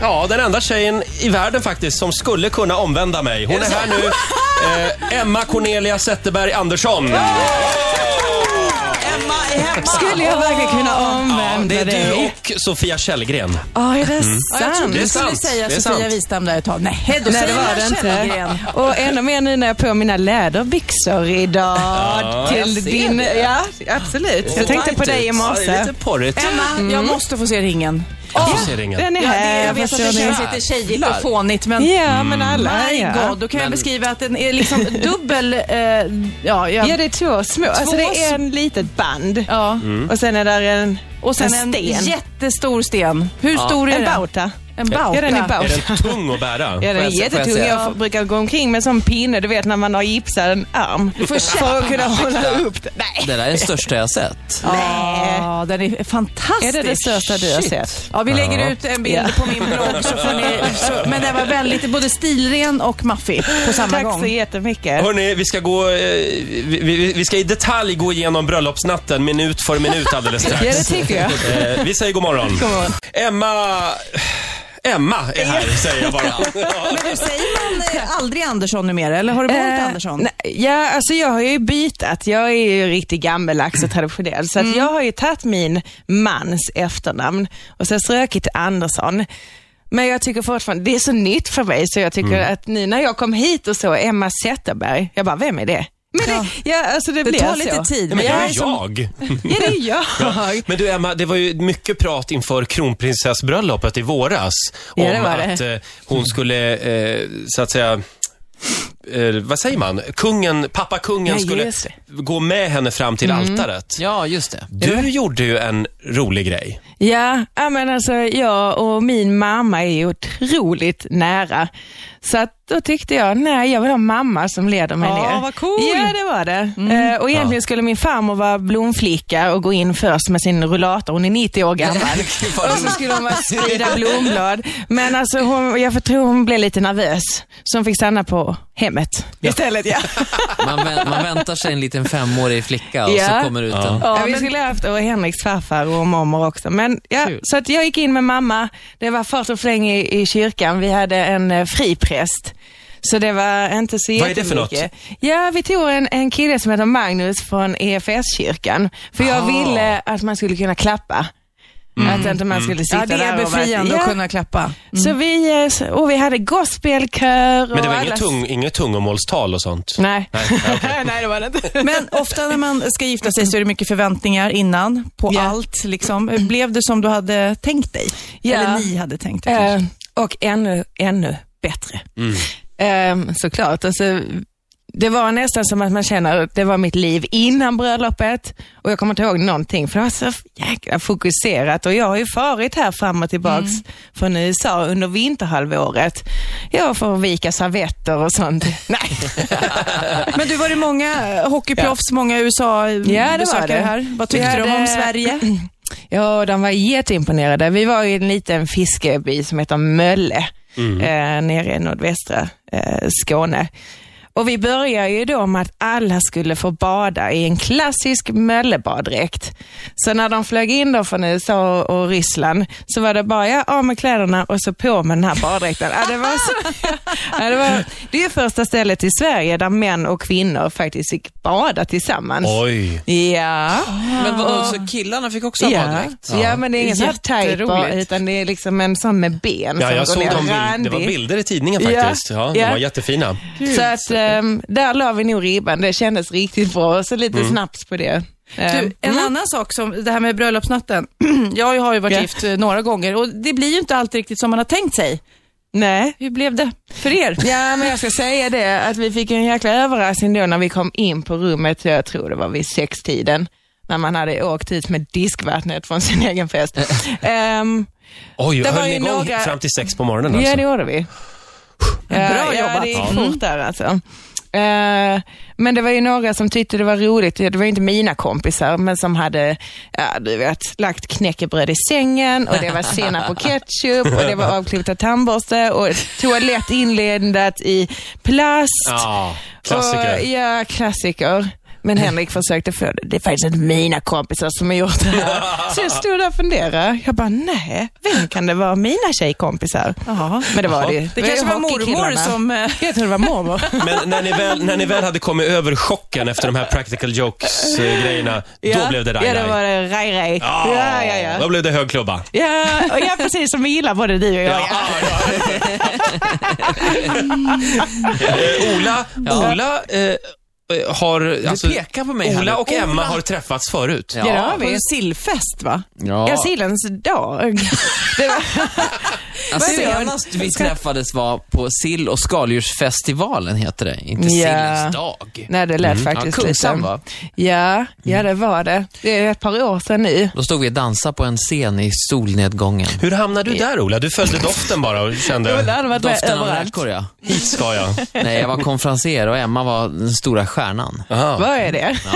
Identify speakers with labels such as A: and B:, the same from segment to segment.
A: Ja, den enda tjejen i världen faktiskt som skulle kunna omvända mig. Hon är här nu. Eh, Emma Cornelia Zetterberg Andersson.
B: Emma är hemma.
C: Skulle jag verkligen kunna
A: Det
C: omvända
A: är du
C: dig?
A: och Sofia Källgren.
C: Ja, är det
B: Ja, jag
C: sant?
B: trodde
A: Det är
B: du skulle
A: sant.
B: säga
A: Det är
B: Sofia
A: sant.
B: Wistam där ett tag. Nej, då
C: Nej, det
B: säger
C: var det
B: man
C: inte.
B: Källgren.
C: Och ännu mer nu när jag har på mig mina läderbyxor idag. till
B: jag ser
C: din...
B: det.
C: Ja, absolut. Jag tänkte på
A: Tajt
C: dig i
A: ut. Ja, det är
C: morse.
A: lite porrigt.
B: Emma, jag måste få se ringen.
A: Jag ser ingen.
C: Den är
B: Mm. Ja, det,
C: här.
B: jag vet att det
C: förstår ni.
B: känns lite tjejigt och fånigt, men
C: Ja, men alla
B: my
C: ja.
B: god, då kan jag beskriva att den är liksom dubbel... Eh, ja, jag,
C: Ja, det är två små. alltså det är
B: små.
C: en litet band.
B: ja.
C: Och sen är där en,
B: Och sen en,
C: en sten.
B: jättestor sten. Hur stor är
C: en
B: den?
C: bauta.
B: En bauta.
C: Ja, den är
A: Är
C: bauta.
A: den tung att bära?
C: Ja, den är
D: Får jag se- får jag
C: jättetung.
D: se?
C: Jag, f- brukar gå omkring med en sån pinne, du vet när man har gipsat en arm. för att kunna hålla upp den. Nej.
D: Det där är den största jag har sett.
B: Ja, den är
C: Är
B: fantastisk.
C: det det största du har sett?
B: Ja, vi lägger ut en bild på min blogg. Så får ni, så, men den var väldigt både stilren och maffig på samma
C: Tack
B: gång.
C: så jättemycket.
A: Hörni, vi ska gå... eh, Vi, vi, vi ska i detalj gå igenom bröllopsnatten minut för minut alldeles
C: Ja,
A: strax.
C: det tycker jag.
A: Eh, vi säger god morgon.
C: God morgon.
A: Emma... Emma är här, säger jag bara.
B: Men du säger man eh, aldrig Andersson numera, eller har du varit
C: Eh,
B: Andersson?
C: nej, ja, alltså jag har ju bytt. Jag är ju riktigt gammeldags och traditionell. Så att jag har ju tagit min mans efternamn och sen strökit Andersson. Men jag tycker fortfarande, det är så nytt för mig så jag tycker att nu när jag kom hit och så, Emma Zetterberg, jag bara, vem är det? Men det, ja, alltså det,
B: Det
C: blir
B: tar
C: så.
B: lite
A: Nej,
B: tid.
A: men det
C: jag
A: är
C: är
A: ju
C: som-
A: jag.
C: Ja, det är jag.
A: Men du Emma, det var ju mycket prat inför kronprinsessbröllopet i våras.
C: Ja, det
A: om
C: var det.
A: att eh, hon skulle, eh, så att säga, eh, vad säger man? Kungen, pappa kungen
C: Ja,
A: skulle
C: just det. Mm.
A: gå med henne fram till altaret.
D: Ja, just det.
A: Du gjorde ju en rolig grej.
C: Ja, ja, men alltså jag och min mamma är ju otroligt nära. Så att då tyckte jag, nej jag vill ha mamma som leder mig
B: Ja,
C: ner.
B: vad cool. Mm.
C: Ja, det var det. Eh, och egentligen skulle min farmor vara blomflicka och gå in först med sin rullator. Hon är 90 år gammal. och så skulle hon bara sprida blomblad. Men alltså hon, jag tror hon blev lite nervös. Så hon fick stanna på hemmet istället. Ja.
D: Man, vä- man väntar sig en liten femårig flicka och
C: Ja.
D: så kommer det ut
A: Ja.
D: en.
C: Ja, vi skulle ha haft och Henriks farfar och mormor också. Men, ja, så att jag gick in med mamma. Det var fart och fläng i, i kyrkan. Vi hade en eh, fripräst. Så det var inte så
A: Vad är det för något?
C: jättemycket. Ja, vi tog en, en kille som heter Magnus från EFS-kyrkan. För jag
A: Ah.
C: ville att man skulle kunna klappa.
A: Mm.
C: Att inte man skulle sitta
B: ja, det är
C: där och bara-
B: befriande
C: ja.
B: att kunna klappa.
C: Så vi, eh, s- och vi hade gospelkör
A: Men det
C: och
A: var
C: alla-
A: inget, tung, inget tungomålstal och sånt?
C: Nej.
A: Nej, okej.
C: Nej, det var det inte.
B: Mm. Men ofta när man ska gifta sig så är det mycket förväntningar innan på
C: Ja.
B: allt. Liksom. Blev det som du hade tänkt dig?
C: Ja.
B: Eller ni hade tänkt er?
C: Eh,
B: kanske?
C: och ännu, ännu bättre. Eh, såklart. Alltså, det var nästan som att man känner att det var mitt liv innan bröllopet och jag kommer inte ihåg någonting för det var så jäkla fokuserat och jag har ju farit här fram och tillbaks från USA under vinterhalvåret. Jag får vika servetter och sånt. Nej.
B: Men du, var det många eh, hockeyproffs, många
C: Ja, det var
B: USA-besökare
C: det.
B: här? Vad
C: Vi
B: tyckte de om
C: hade-
B: Sverige?
C: Ja, de var jätteimponerade. Vi var i en liten fiskeby som heter Mölle eh, nere i nordvästra eh, Skåne. Och vi började ju då med att alla skulle få bada i en klassisk möllebaddräkt. Så när de flög in då från USA och Ryssland så var det bara ja, av med kläderna och så på med den här baddräkten. Ja, det, var så, ja, det, var, det är ju första stället i Sverige där män och kvinnor faktiskt fick bada tillsammans.
A: Oj.
C: Ja.
D: Men vad, så killarna fick också ha baddräkt?
C: Ja. ja, men det är ingen sån här
B: Jätteroligt.
C: tajper, utan det är liksom en sån med ben
A: Ja,
C: som
A: jag
C: går
A: såg de
C: ner.
A: bild, det var
C: Randig.
A: bilder i tidningen
C: Ja,
A: faktiskt. Ja, de
C: ja.
A: var jättefina.
C: Så att ehm, där la vi nog ribban. Det kändes riktigt bra. Och så lite
A: Mm.
C: snaps på det. Ehm,
B: Du, en annan sak, som det här med bröllopsnatten. jag har ju varit
C: Ja.
B: gift eh, några gånger och det blir ju inte alltid riktigt som man har tänkt sig.
C: Nej.
B: Hur blev det för er?
C: Ja, men jag ska säga det att vi fick en jäkla överraskning då när vi kom in på rummet, jag tror det var vid sextiden, när man hade åkt ut med diskvattnet från sin egen fest. Ehm,
A: Oj,
C: Det
A: höll
C: var
A: ni
C: ju
A: igång
C: några-
A: fram till sex på morgonen
C: Ja,
A: alltså?
C: det gjorde vi.
B: Bra
C: Eh, ja,
B: jobbat.
C: Ja, det gick fort där alltså. Eh, men det var ju några som tyckte det var roligt, det var ju inte mina kompisar, men som hade, ja du vet, lagt knäckebröd i sängen och det var senap och ketchup och det var avklippta tandborste och toalett inlindat i plast.
A: Ja, klassiker.
C: Och, ja, klassiker. Men Henrik försökte få det. Det är faktiskt inte mina kompisar som har gjort det här. Så jag stod där och funderade. Jag bara, nej, vem kan det vara? Mina tjejkompisar?
B: Jaha.
C: Men det var det ju.
B: Det kanske var mormor
C: hockeykillarna.
B: som... eh,
C: Jag tror det var mormor.
A: Men när ni, väl, när ni väl hade kommit över chocken efter de här practical jokes-grejerna, då blev det
C: Ja, då var
A: raj-raj.
C: det raj-raj. Ja, ja, ja.
A: Då blev det hög klubba.
C: Ja, och ja, precis som vi gillar både du och jag.
A: Ja, ja. Eh, Ola, Ola eh, har... Alltså,
D: pekar på mig här
A: Ola
D: nu.
A: och Emma har träffats förut.
C: Ja, det har
B: På
C: vi.
B: en sillfest va?
D: Ja.
C: Ja, sillens dag. Det var,
D: Alltså,
C: Vad är det?
D: senast vi träffades var på sill och skaldjursfestivalen, heter det. Inte
C: Ja.
D: sillens dag.
C: nej, det lät
D: Mm. Ja,
C: faktiskt
D: Kungsan,
C: lite...
D: va? Mm.
C: Ja, ja, det var det. Det är ett par år sedan nu.
D: Då stod vi och dansade på en scen i solnedgången.
A: Hur hamnade du där Ola? Du följde doften bara och
C: Ola
A: kände,
C: hade varit med
D: Doften av
C: överallt.
D: räkor, ja.
A: hit ska jag.
D: Nej, jag var konferenser och Emma var den stora stjärnan.
A: Aha.
C: Vad är det?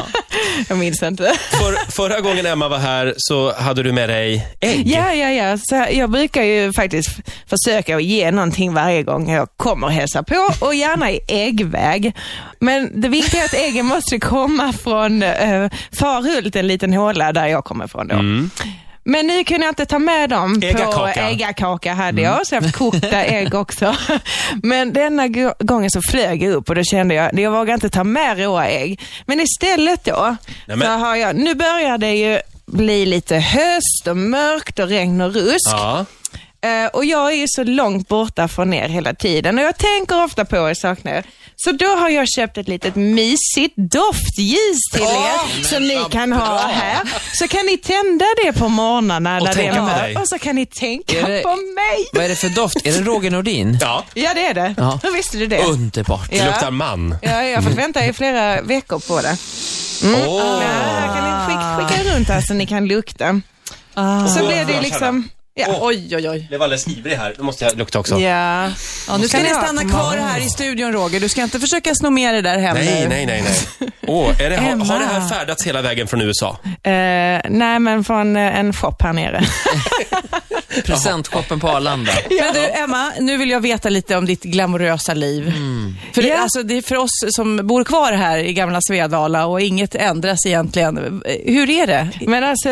C: Jag minns inte.
A: För, förra gången Emma var här så hade du med dig ägg.
C: Ja, ja, ja. Så här, jag brukar ju faktiskt f- försöka att ge någonting varje gång jag kommer och hälsar på och gärna i äggväg. Men det viktiga är att äggen måste komma från eh, Farhult, en liten håla där jag kommer ifrån då.
A: Mm.
C: Men nu kunde jag inte ta med dem på
A: Äggakaka.
C: äggakaka
A: Mm.
C: hade jag, så jag har haft kokta ägg också. Men denna g- gången så flög jag upp och då kände jag, jag vågar inte ta med råa ägg. Men istället då,
A: Nej, men-
C: så har jag, nu börjar det ju bli lite höst och mörkt och regn och rusk.
A: Ja.
C: Eh, och jag är ju så långt borta från er hela tiden och jag tänker ofta på er, saknar er. Så då har jag köpt ett litet mysigt doftljus till er som ni kan ha här. Så kan ni tända det på morgnarna när det
A: tänka
C: är
A: på
C: mörkt.
A: dig.
C: Och så kan ni tänka
D: Är det-
C: på mig.
D: Vad är det för doft? Är det Roger Nordin?
A: ja,
C: Ja, det är det.
D: Ja. Oh.
C: Hur visste du det?
D: Underbart.
A: det
C: Ja.
A: luktar man.
C: Ja, jag har fått vänta i flera veckor på det.
A: Åh.
C: Ja, jag Ah, kan skicka, skicka runt här så ni kan lukta. Så blir det ju liksom... Ja.
B: Oj, oj, oj.
A: blev alldeles ivrig här. Nu måste jag lukta också.
C: Ja.
B: Ja, nu ska
C: kan
B: ni
C: jag ha
B: stanna
C: på
B: kvar
C: morgonen.
B: här i studion Roger. Du ska inte försöka sno med dig där hem
A: Nej,
B: nu.
A: nej, nej, nej. Åh, är det, har,
B: Emma.
A: har det här färdats hela vägen från USA?
C: Eh, nej, men från eh, en shop här nere.
D: Presentshoppen på Arlanda.
B: Men du Emma, nu vill jag veta lite om ditt glamorösa liv.
A: Mm.
B: För, det,
C: Ja.
B: alltså, det är för oss som bor kvar här i gamla Svedala och inget ändras egentligen. Hur är det?
C: Men alltså,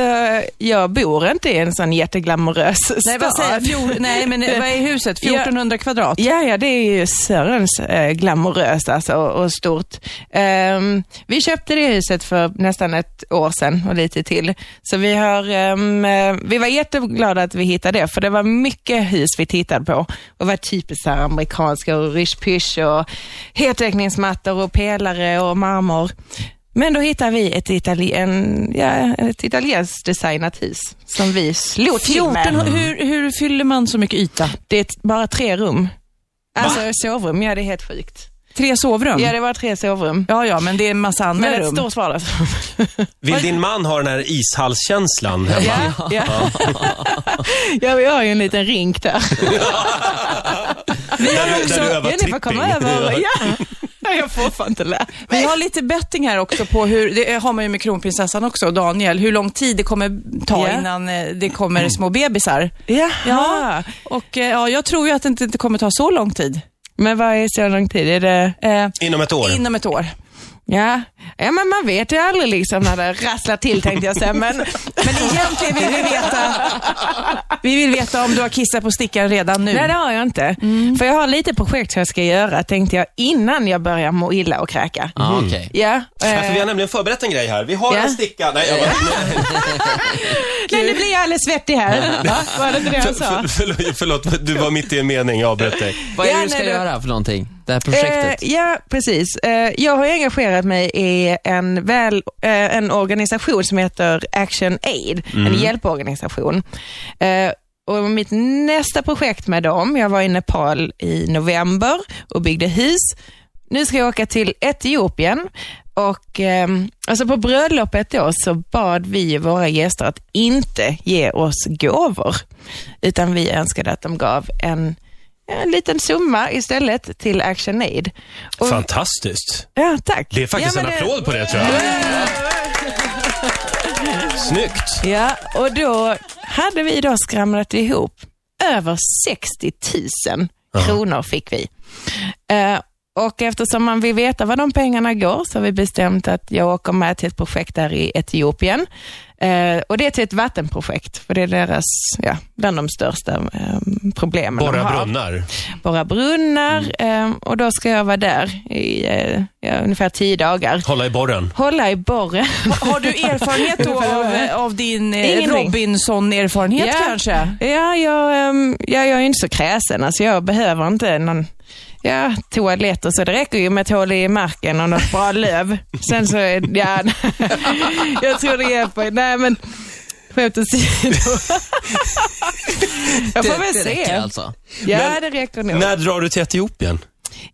C: jag bor inte i en sån jätteglamorös stad.
B: Nej, vad säger jag? Fjol- nej men vad är huset? 1400 kvadrat?
C: Ja, ja, det är ju Sörens eh, glamoröst alltså, och, och stort. Ehm, vi köpte det huset för nästan ett år sedan och lite till. Så vi, har, ehm, eh, vi var jätteglada att vi hittade det, för det var mycket hus vi tittade på. Och var typiskt så här amerikanska och rysch och heltäckningsmattor och pelare och marmor. Men då hittade vi ett, itali- en, ja, ett italienskt designat hus som vi slog till
B: 1400,
C: med.
B: hur, hur fyller man så mycket yta?
C: Det är t- bara tre rum. Alltså sovrum, ja det är helt sjukt.
B: Tre sovrum?
C: Ja, det var tre sovrum.
B: Ja, ja, men det är en massa andra
C: Men ett
B: rum.
C: stort vardagsrum.
A: Vill din man ha den här ishallskänslan hemma?
C: Ja, ja. ja, vi har ju en liten rink där.
A: Där, du- där du övar
C: Jennifer, kom över.
A: tipping.
C: Ja. Ja, jag får fan inte lära
B: Vi har lite betting här också på hur, det har man ju med kronprinsessan också, Daniel, hur lång tid det kommer ta
C: Ja.
B: innan eh, det kommer små bebisar.
C: Jaha.
B: Ja, och eh, ja, jag tror ju att det inte det kommer ta så lång tid.
C: Men vad är så lång tid? Är det...
B: Eh,
A: Inom ett år.
B: inom ett år.
C: Ja. ja, men man vet ju aldrig liksom när det rasslar till tänkte jag säga. Men...
B: Men egentligen vill vi veta, vi vill veta om du har kissat på stickan redan nu.
C: Nej, det har jag inte. För jag har lite projekt jag ska göra tänkte jag innan jag börjar må illa och kräka.
D: Ja, okej.
A: Äh.
C: Ja,
A: Ja, för Alltså, vi
C: eh,
A: har nämligen förberett en grej här. Vi har
C: Ja.
A: en sticka. Nej, jag bara,
C: nej, nu blir jag alldeles svettig här. Va? Var det inte det
A: för,
C: jag sa?
A: för, förlåt, förlåt, du var mitt i en mening. Jag avbröt dig.
D: Vad är
C: Ja,
D: det du ska
C: nej, det-
D: göra för någonting? Det här projektet?
C: Eh, ja, precis. Eh, jag har engagerat mig i en, väl, eh, en organisation som heter Action Aid, en hjälporganisation. Eh, och mitt nästa projekt med dem, jag var i Nepal i november och byggde hus. Nu ska jag åka till Etiopien och ehm, alltså på bröllopet då så bad vi våra gäster att inte ge oss gåvor, utan vi önskade att de gav en en liten summa istället till Action Aid. Och,
A: Fantastiskt.
C: ja, tack.
A: Det är faktiskt
C: ja,
A: en
C: men det-
A: applåd på det tror jag. Snyggt.
C: Ja, och då hade vi då skramlat ihop över 60 000 kronor fick vi. Eh, Och eftersom man vill veta var de pengarna går så har vi bestämt att jag åker med till ett projekt där i Etiopien. Eh, och det är till ett vattenprojekt, för det är deras, ja, bland de största eh, problemen de
A: Borra
C: har.
A: brunnar.
C: Borra
D: Mm.
C: brunnar. Eh, och då ska jag vara där i eh, ja, ungefär tio dagar.
A: Hålla i borren.
C: Hålla i borren.
B: Har du erfarenhet då av, av din eh,
C: Ingenting.
B: Robinson-erfarenhet
C: Ja.
B: kanske?
C: Ja, jag, ehm, ja, jag är ju inte så kräsen. Alltså, jag behöver inte någon ja, toalett och så. Det räcker ju med ett hål i marken och något bra löv. Sen så, är- ja, jag tror det hjälper. Nej, men skämt åsido. jag får väl
D: det
C: se.
D: räcker alltså.
C: Ja,
A: Men-
C: det räcker nog.
A: När drar du till Etiopien?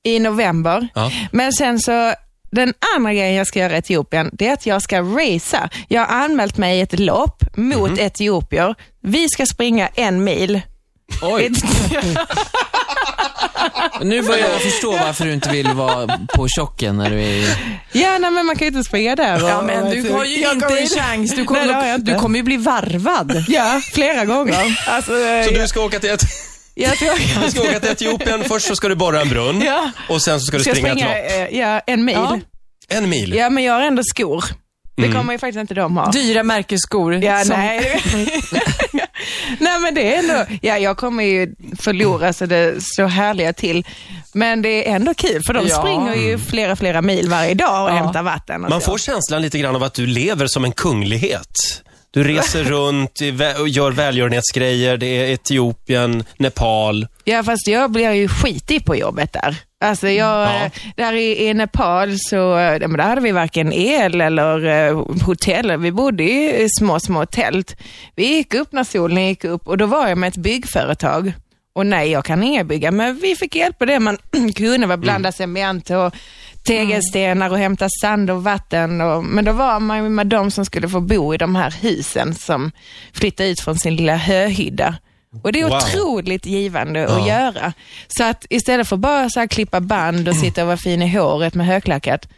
C: I november.
A: Ja.
C: Men sen så, den andra grejen jag ska göra i Etiopien, det är att jag ska racea. Jag har anmält mig i ett lopp mot etiopier. Vi ska springa en mil.
D: Oj, nu börjar jag förstå varför du inte vill vara på chocken när du är i...
C: Ja, nej, men man kan ju inte springa där. Och,
B: Ja, men
C: och-
B: du har ju inte en chans. Du
C: Nej, det har
B: kommer,
C: jag inte.
B: du kommer ju bli varvad.
C: Ja, flera gånger. Alltså, eh,
A: Så du ska åka till, ett,
C: jag tror jag
A: du ska åka till Etiopien, först så ska du borra en brunn
C: Ja.
A: och sen så ska du
C: ska
A: springa ett
C: springa
A: lopp.
C: eh, ja, en mil.
B: Ja.
C: Ja.
A: En mil.
C: men jag har ändå skor. Det kommer ju faktiskt inte de ha.
B: Dyra märkesskor.
C: Ja,
B: som-
C: nej. nej, men det är ändå, ja, jag kommer ju förlora så det står härliga till. Men det är ändå kul för de
B: Ja.
C: springer ju flera, flera mil varje dag och
B: Ja.
C: hämtar vatten. och
A: Man
C: så.
A: får känslan lite grann av att du lever som en kunglighet. Du reser runt i vä- och gör välgörenhetsgrejer. Det är Etiopien, Nepal.
C: Ja, fast jag blir ju skitig på jobbet där. Alltså jag,
A: Ja.
C: eh, där i, i Nepal så, eh, ja, men där hade vi varken el eller eh, hotell. Vi bodde ju i små, små tält. Vi gick upp när solen gick upp och då var jag med ett byggföretag. Och nej, jag kan inga bygga, men vi fick hjälp med det. Man kunde väl blanda
A: Mm.
C: cement och tegelstenar och hämta sand och vatten. Och, men då var man ju med de som skulle få bo i de här husen som flyttade ut från sin lilla höhydda. Och det är
A: Wow.
C: otroligt givande att
A: Ja.
C: göra. Så att istället för bara så här klippa band och sitta och vara fin i håret med högklackat,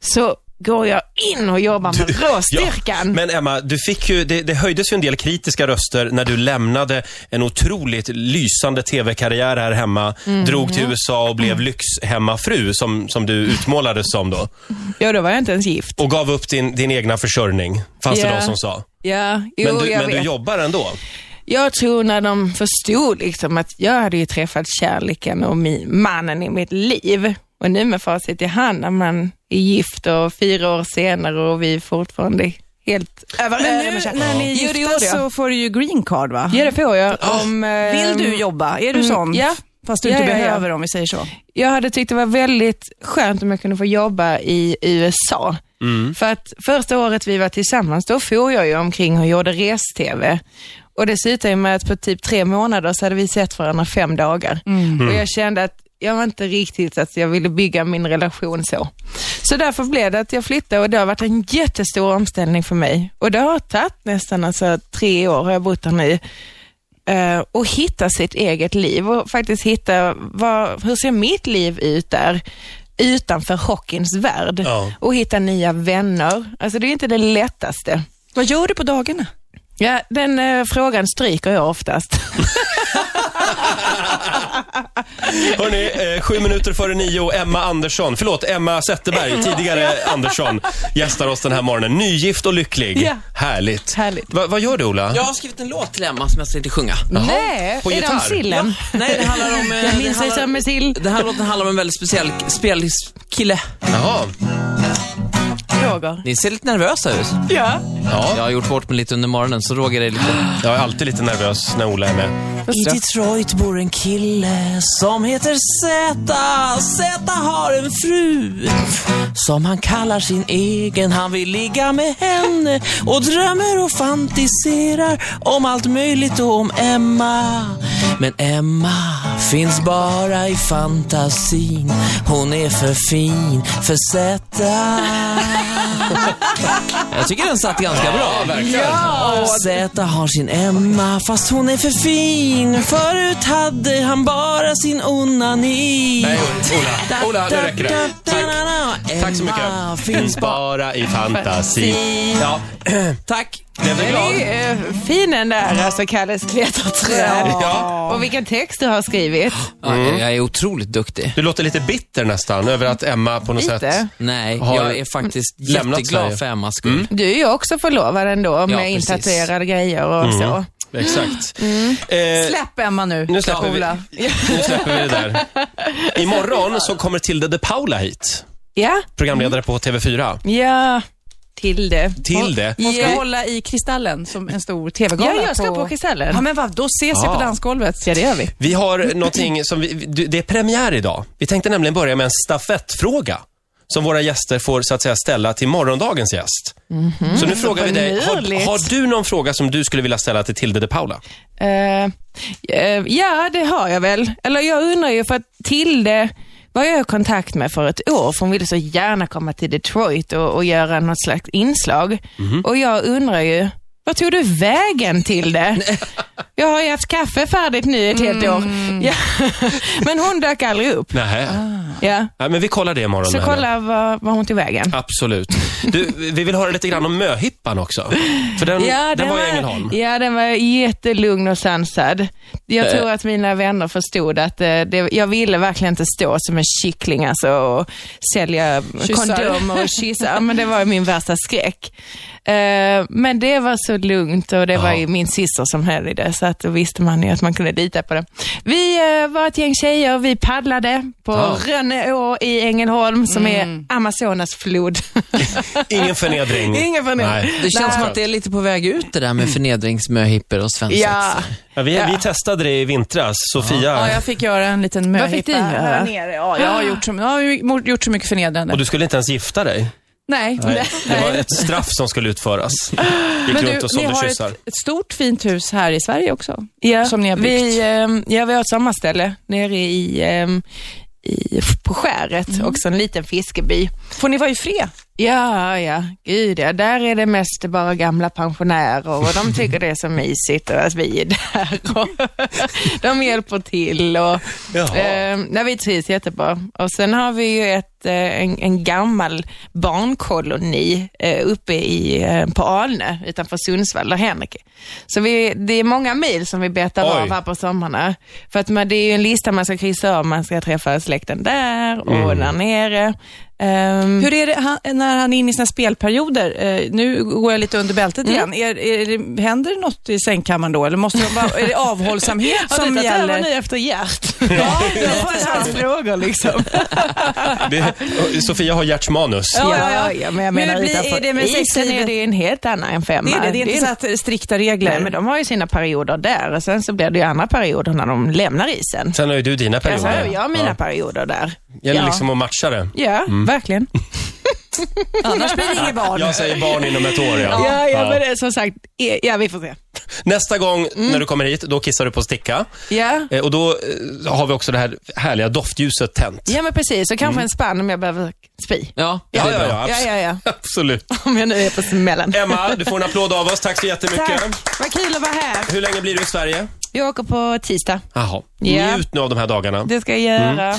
C: så går jag in och jobbar med råstyrkan.
A: Men Emma, du fick ju, det, det höjdes ju en del kritiska röster när du lämnade en otroligt lysande tv-karriär här hemma,
C: Mhm.
A: drog till USA och
C: Mm.
A: blev lyxhemmafru, som, som du utmålades som då,
C: Ja, då var jag inte ens gift.
A: och gav upp din, din egna försörjning, fanns
C: Ja.
A: det de som sa.
C: Ja, jo,
A: Men, du,
C: jag
A: men du
C: vet.
A: jobbar ändå.
C: Jag tror när de förstod liksom att jag hade ju träffat kärleken och mi- mannen i mitt liv. Och nu med facit i hand när man är gift och fyra år senare och vi är fortfarande helt över
B: Men
C: öronen
B: nu
C: med kärlek.
B: när ni är
C: Jo, det
B: gifta
C: gjorde jag.
B: så får du ju green card va?
C: Ja, det får jag.
A: Ah.
C: Om, eh,
B: Vill du jobba? Är du
C: Mm,
B: sån?
C: ja.
B: Fast du
C: Ja,
B: inte
C: ja, ja.
B: behöver om vi säger så.
C: jag hade tyckt det var väldigt skönt om jag kunde få jobba i USA. För att första året vi var tillsammans, då for jag ju omkring och gjorde res-tv. Och det slutade ju med att på typ tre månader så hade vi sett varandra fem dagar. Och jag kände att jag var inte riktigt att jag ville bygga min relation så. Så därför blev det att jag flyttade och det har varit en jättestor omställning för mig. Och det har tagit nästan alltså, tre år har jag bott här nu. Eh, och hitta sitt eget liv och faktiskt hitta vad, hur ser mitt liv ut där utanför hockeyns värld
A: Ja.
C: och hitta nya vänner. Alltså det är ju inte det lättaste.
B: Vad gör du på dagarna?
C: Ja, den eh, frågan stryker jag oftast.
A: Hörni, eh, sju minuter före nio, Emma Andersson, förlåt, Emma Zetterberg, tidigare Andersson, gästar oss den här morgonen. Nygift och lycklig.
C: Ja.
A: Härligt.
C: Härligt.
A: Va, vad gör du, Ola?
D: Jag har skrivit en låt till Emma som jag tänkte sjunga.
C: Nej,
A: på
C: är det
A: gitarr?
C: om sillen?
D: Nej, det handlar om... eh,
C: Jag
D: det
C: minns dig
D: handlar-
C: som en sill.
D: Den här låten handlar om en väldigt speciell spelkille.
A: Jaha.
C: Roger.
D: Ni ser lite nervösa ut.
C: Ja.
A: Ja.
D: Jag har gjort bort mig lite under morgonen, så Roger är lite...
A: Jag är alltid lite nervös när Ola är med.
D: I Detroit bor en kille som heter Zeta. Zeta har en fru som han kallar sin egen. Han vill ligga med henne och drömmer och fantiserar om allt möjligt och om Emma. Men Emma finns bara i fantasin. Hon är för fin för Zeta. Jag tycker den satt ganska bra. Zäta har sin Emma fast hon är för fin. Förut hade han bara sin onani.
A: Nej, Ola. Ola, nu räcker det. Tack.
D: Tack.
A: Tack så mycket. Mm.
D: Emma finns bara...
A: bara i fantasi. Ja.
D: Tack.
A: Blev du
C: Den
A: glad?
C: är ju eh, fin den där, alltså Kalles klätterträd.
A: Ja.
C: Och vilken text du har skrivit.
D: Ja, Jag är otroligt duktig.
A: Du låter lite bitter nästan över att Emma på något
C: Lite.
A: sätt...
D: Nej,
A: Har
D: jag är faktiskt
A: lämnat Sverige. Mm.
D: jätteglad för Emmas skull.
C: Du är ju också förlovad ändå med
D: precis. Mm.
C: intatuerade grejer och så.
A: Mm. Exakt. Eh,
B: Släpp Emma nu.
A: Nu släpper vi-
B: Ola.
A: Nu släpper vi det där. Imorgon så kommer Tilde de Paula hit.
C: Ja,
A: Programledare på TV4.
C: ja. Till det.
A: Tilde.
B: Hon ska
C: Ja.
B: hålla i Kristallen som en stor TV-gala.
C: Ja, jag ska på
B: Ja,
C: Kristallen.
B: men vad, då ses vi
A: Ja.
B: på dansgolvet.
C: Ja, det gör vi.
A: Vi har någonting som vi, du- det är premiär idag. Vi tänkte nämligen börja med en stafettfråga som våra gäster får så att säga ställa till morgondagens gäst.
C: Mhm.
A: Så nu frågar vi dig, har,
C: finurligt.
A: har du någon fråga som du skulle vilja ställa till Tilde de Paula?
C: Eh, eh, ja, det har jag väl. Eller jag undrar ju för att Tilde var jag i kontakt med för ett år, för hon ville så gärna komma till Detroit och, och göra något slags inslag. Och jag undrar ju, vad tog du vägen till det? Jag har ju haft kaffe färdigt nu ett helt år. Ja. Men hon dök aldrig upp.
A: Nej.
C: Ja.
A: Nej, Ah. men vi kollar det imorgon.
C: Så
A: med henne.
C: kolla vad, vad hon tog vägen.
A: Absolut. Du, vi vill höra lite grann om möhippan också. För den, den, var i Ängelholm.
C: Ja, den var jättelugn och sansad. Jag
A: Eh.
C: tror att mina vänner förstod att eh, det, jag ville verkligen inte stå som en kyckling alltså, och sälja
B: Kyssar.
C: kondomer och kyssar. Ja, men det var ju min värsta skräck. Eh, men det var så lugnt och det var
A: Ja.
C: ju min syster som höll i det, så att då visste man ju att man kunde lita på det. Vi eh, var ett gäng tjejer, vi paddlade på
A: Ja. Mm.
C: Rönneå i Ängelholm som är Amazonas flod.
A: Ingen förnedring.
C: Ingen förnedring.
A: Mm. Nej.
D: Det känns
C: Nej.
D: som att det är lite på väg ut det där med förnedringsmöhippor och svensexor.
C: ja.
A: Ja, vi, vi testade det i vintras. Sofia,
B: Ja, jag fick göra en liten möhippa.
C: Vad fick du göra?
B: här nere. Ja, jag har gjort så, jag har ju gjort så mycket förnedrande.
A: och du skulle inte ens gifta dig.
B: Nej.
A: Nej. Det var
B: Nej.
A: ett straff som skulle utföras. Gick
B: Men
A: runt
B: du,
A: och
B: ni
A: sålde
B: har ett,
A: kyssar.
B: ett stort fint hus här i Sverige också.
C: Ja,
B: som ni har byggt.
C: Vi, ehm, ja, vi har ett sommarställe nere i, ehm, i, på skäret,
B: Mm.
C: också en liten fiskeby.
B: Får ni vara i fred?
C: Ja, ja, gud ja, där är det mest bara gamla pensionärer och de tycker det är så mysigt och att vi är där. Och de hjälper till och
A: Jaha.
C: ehm, nej, vi trivs jättebra. Och sen har vi ju ett, eh, en, en gammal barnkoloni eh, uppe i, eh, på Alnö utanför Sundsvall, där Henrik är. Så vi, det är många mil som vi betar
A: Oj.
C: av här på sommarna. För att man, det är ju en lista man ska kryssa av, man ska träffa släkten där och
A: Mm.
C: där nere. Ehm,
B: Hur är det han, när han är inne i sina spelperioder? Eh, nu går jag lite under bältet igen. Är, är det, händer det något i sängkammaren då? Eller måste de bara, är det avhållsamhet som gäller?
C: efter hjärt.
B: Ja, det var hans
C: frågor liksom.
A: Det- Sofia har Gerts manus.
B: Ja, ja, ja.
C: men jag
B: Men
C: menar
B: det blir-
C: utanför
B: är det med
C: isen
B: sexlivet-
C: är det ju en helt annan än femma.
B: Det är, det, det är inte så
C: en-
B: att strikta regler.
C: Nej, men de har ju sina perioder där och sen så blir det ju andra perioder när de lämnar isen.
A: Sen har ju du dina
C: Alltså,
A: perioder.
C: jag har mina perioder där.
A: Gäller
C: Ja.
A: liksom Mm. att matcha det.
C: Ja, verkligen.
B: Annars blir det inget barn.
A: Jag säger barn inom ett år, ja.
C: Ja, ja,
A: Ja.
C: men det är som sagt, eh, ja vi får se.
A: Nästa gång när du kommer hit, då kissar du på sticka.
C: Ja,
A: Eh, Och då eh, har vi också det här härliga doftljuset tänt.
C: ja men precis, och kanske en spann om jag behöver spy.
D: Ja,
A: Mm. Ja,
D: det är
A: ja,
D: bra.
A: ja,
C: Ja,
A: abs-
C: ja, ja.
A: absolut.
C: Om jag nu är på smällen.
A: Emma, du får en applåd av oss. Tack så jättemycket.
C: Tack, vad kul att vara här.
A: Hur länge blir du i Sverige?
C: Jag åker på tisdag.
A: Jaha.
C: Ja.
A: Njut nu av de här dagarna. Mm.
C: Det ska jag göra.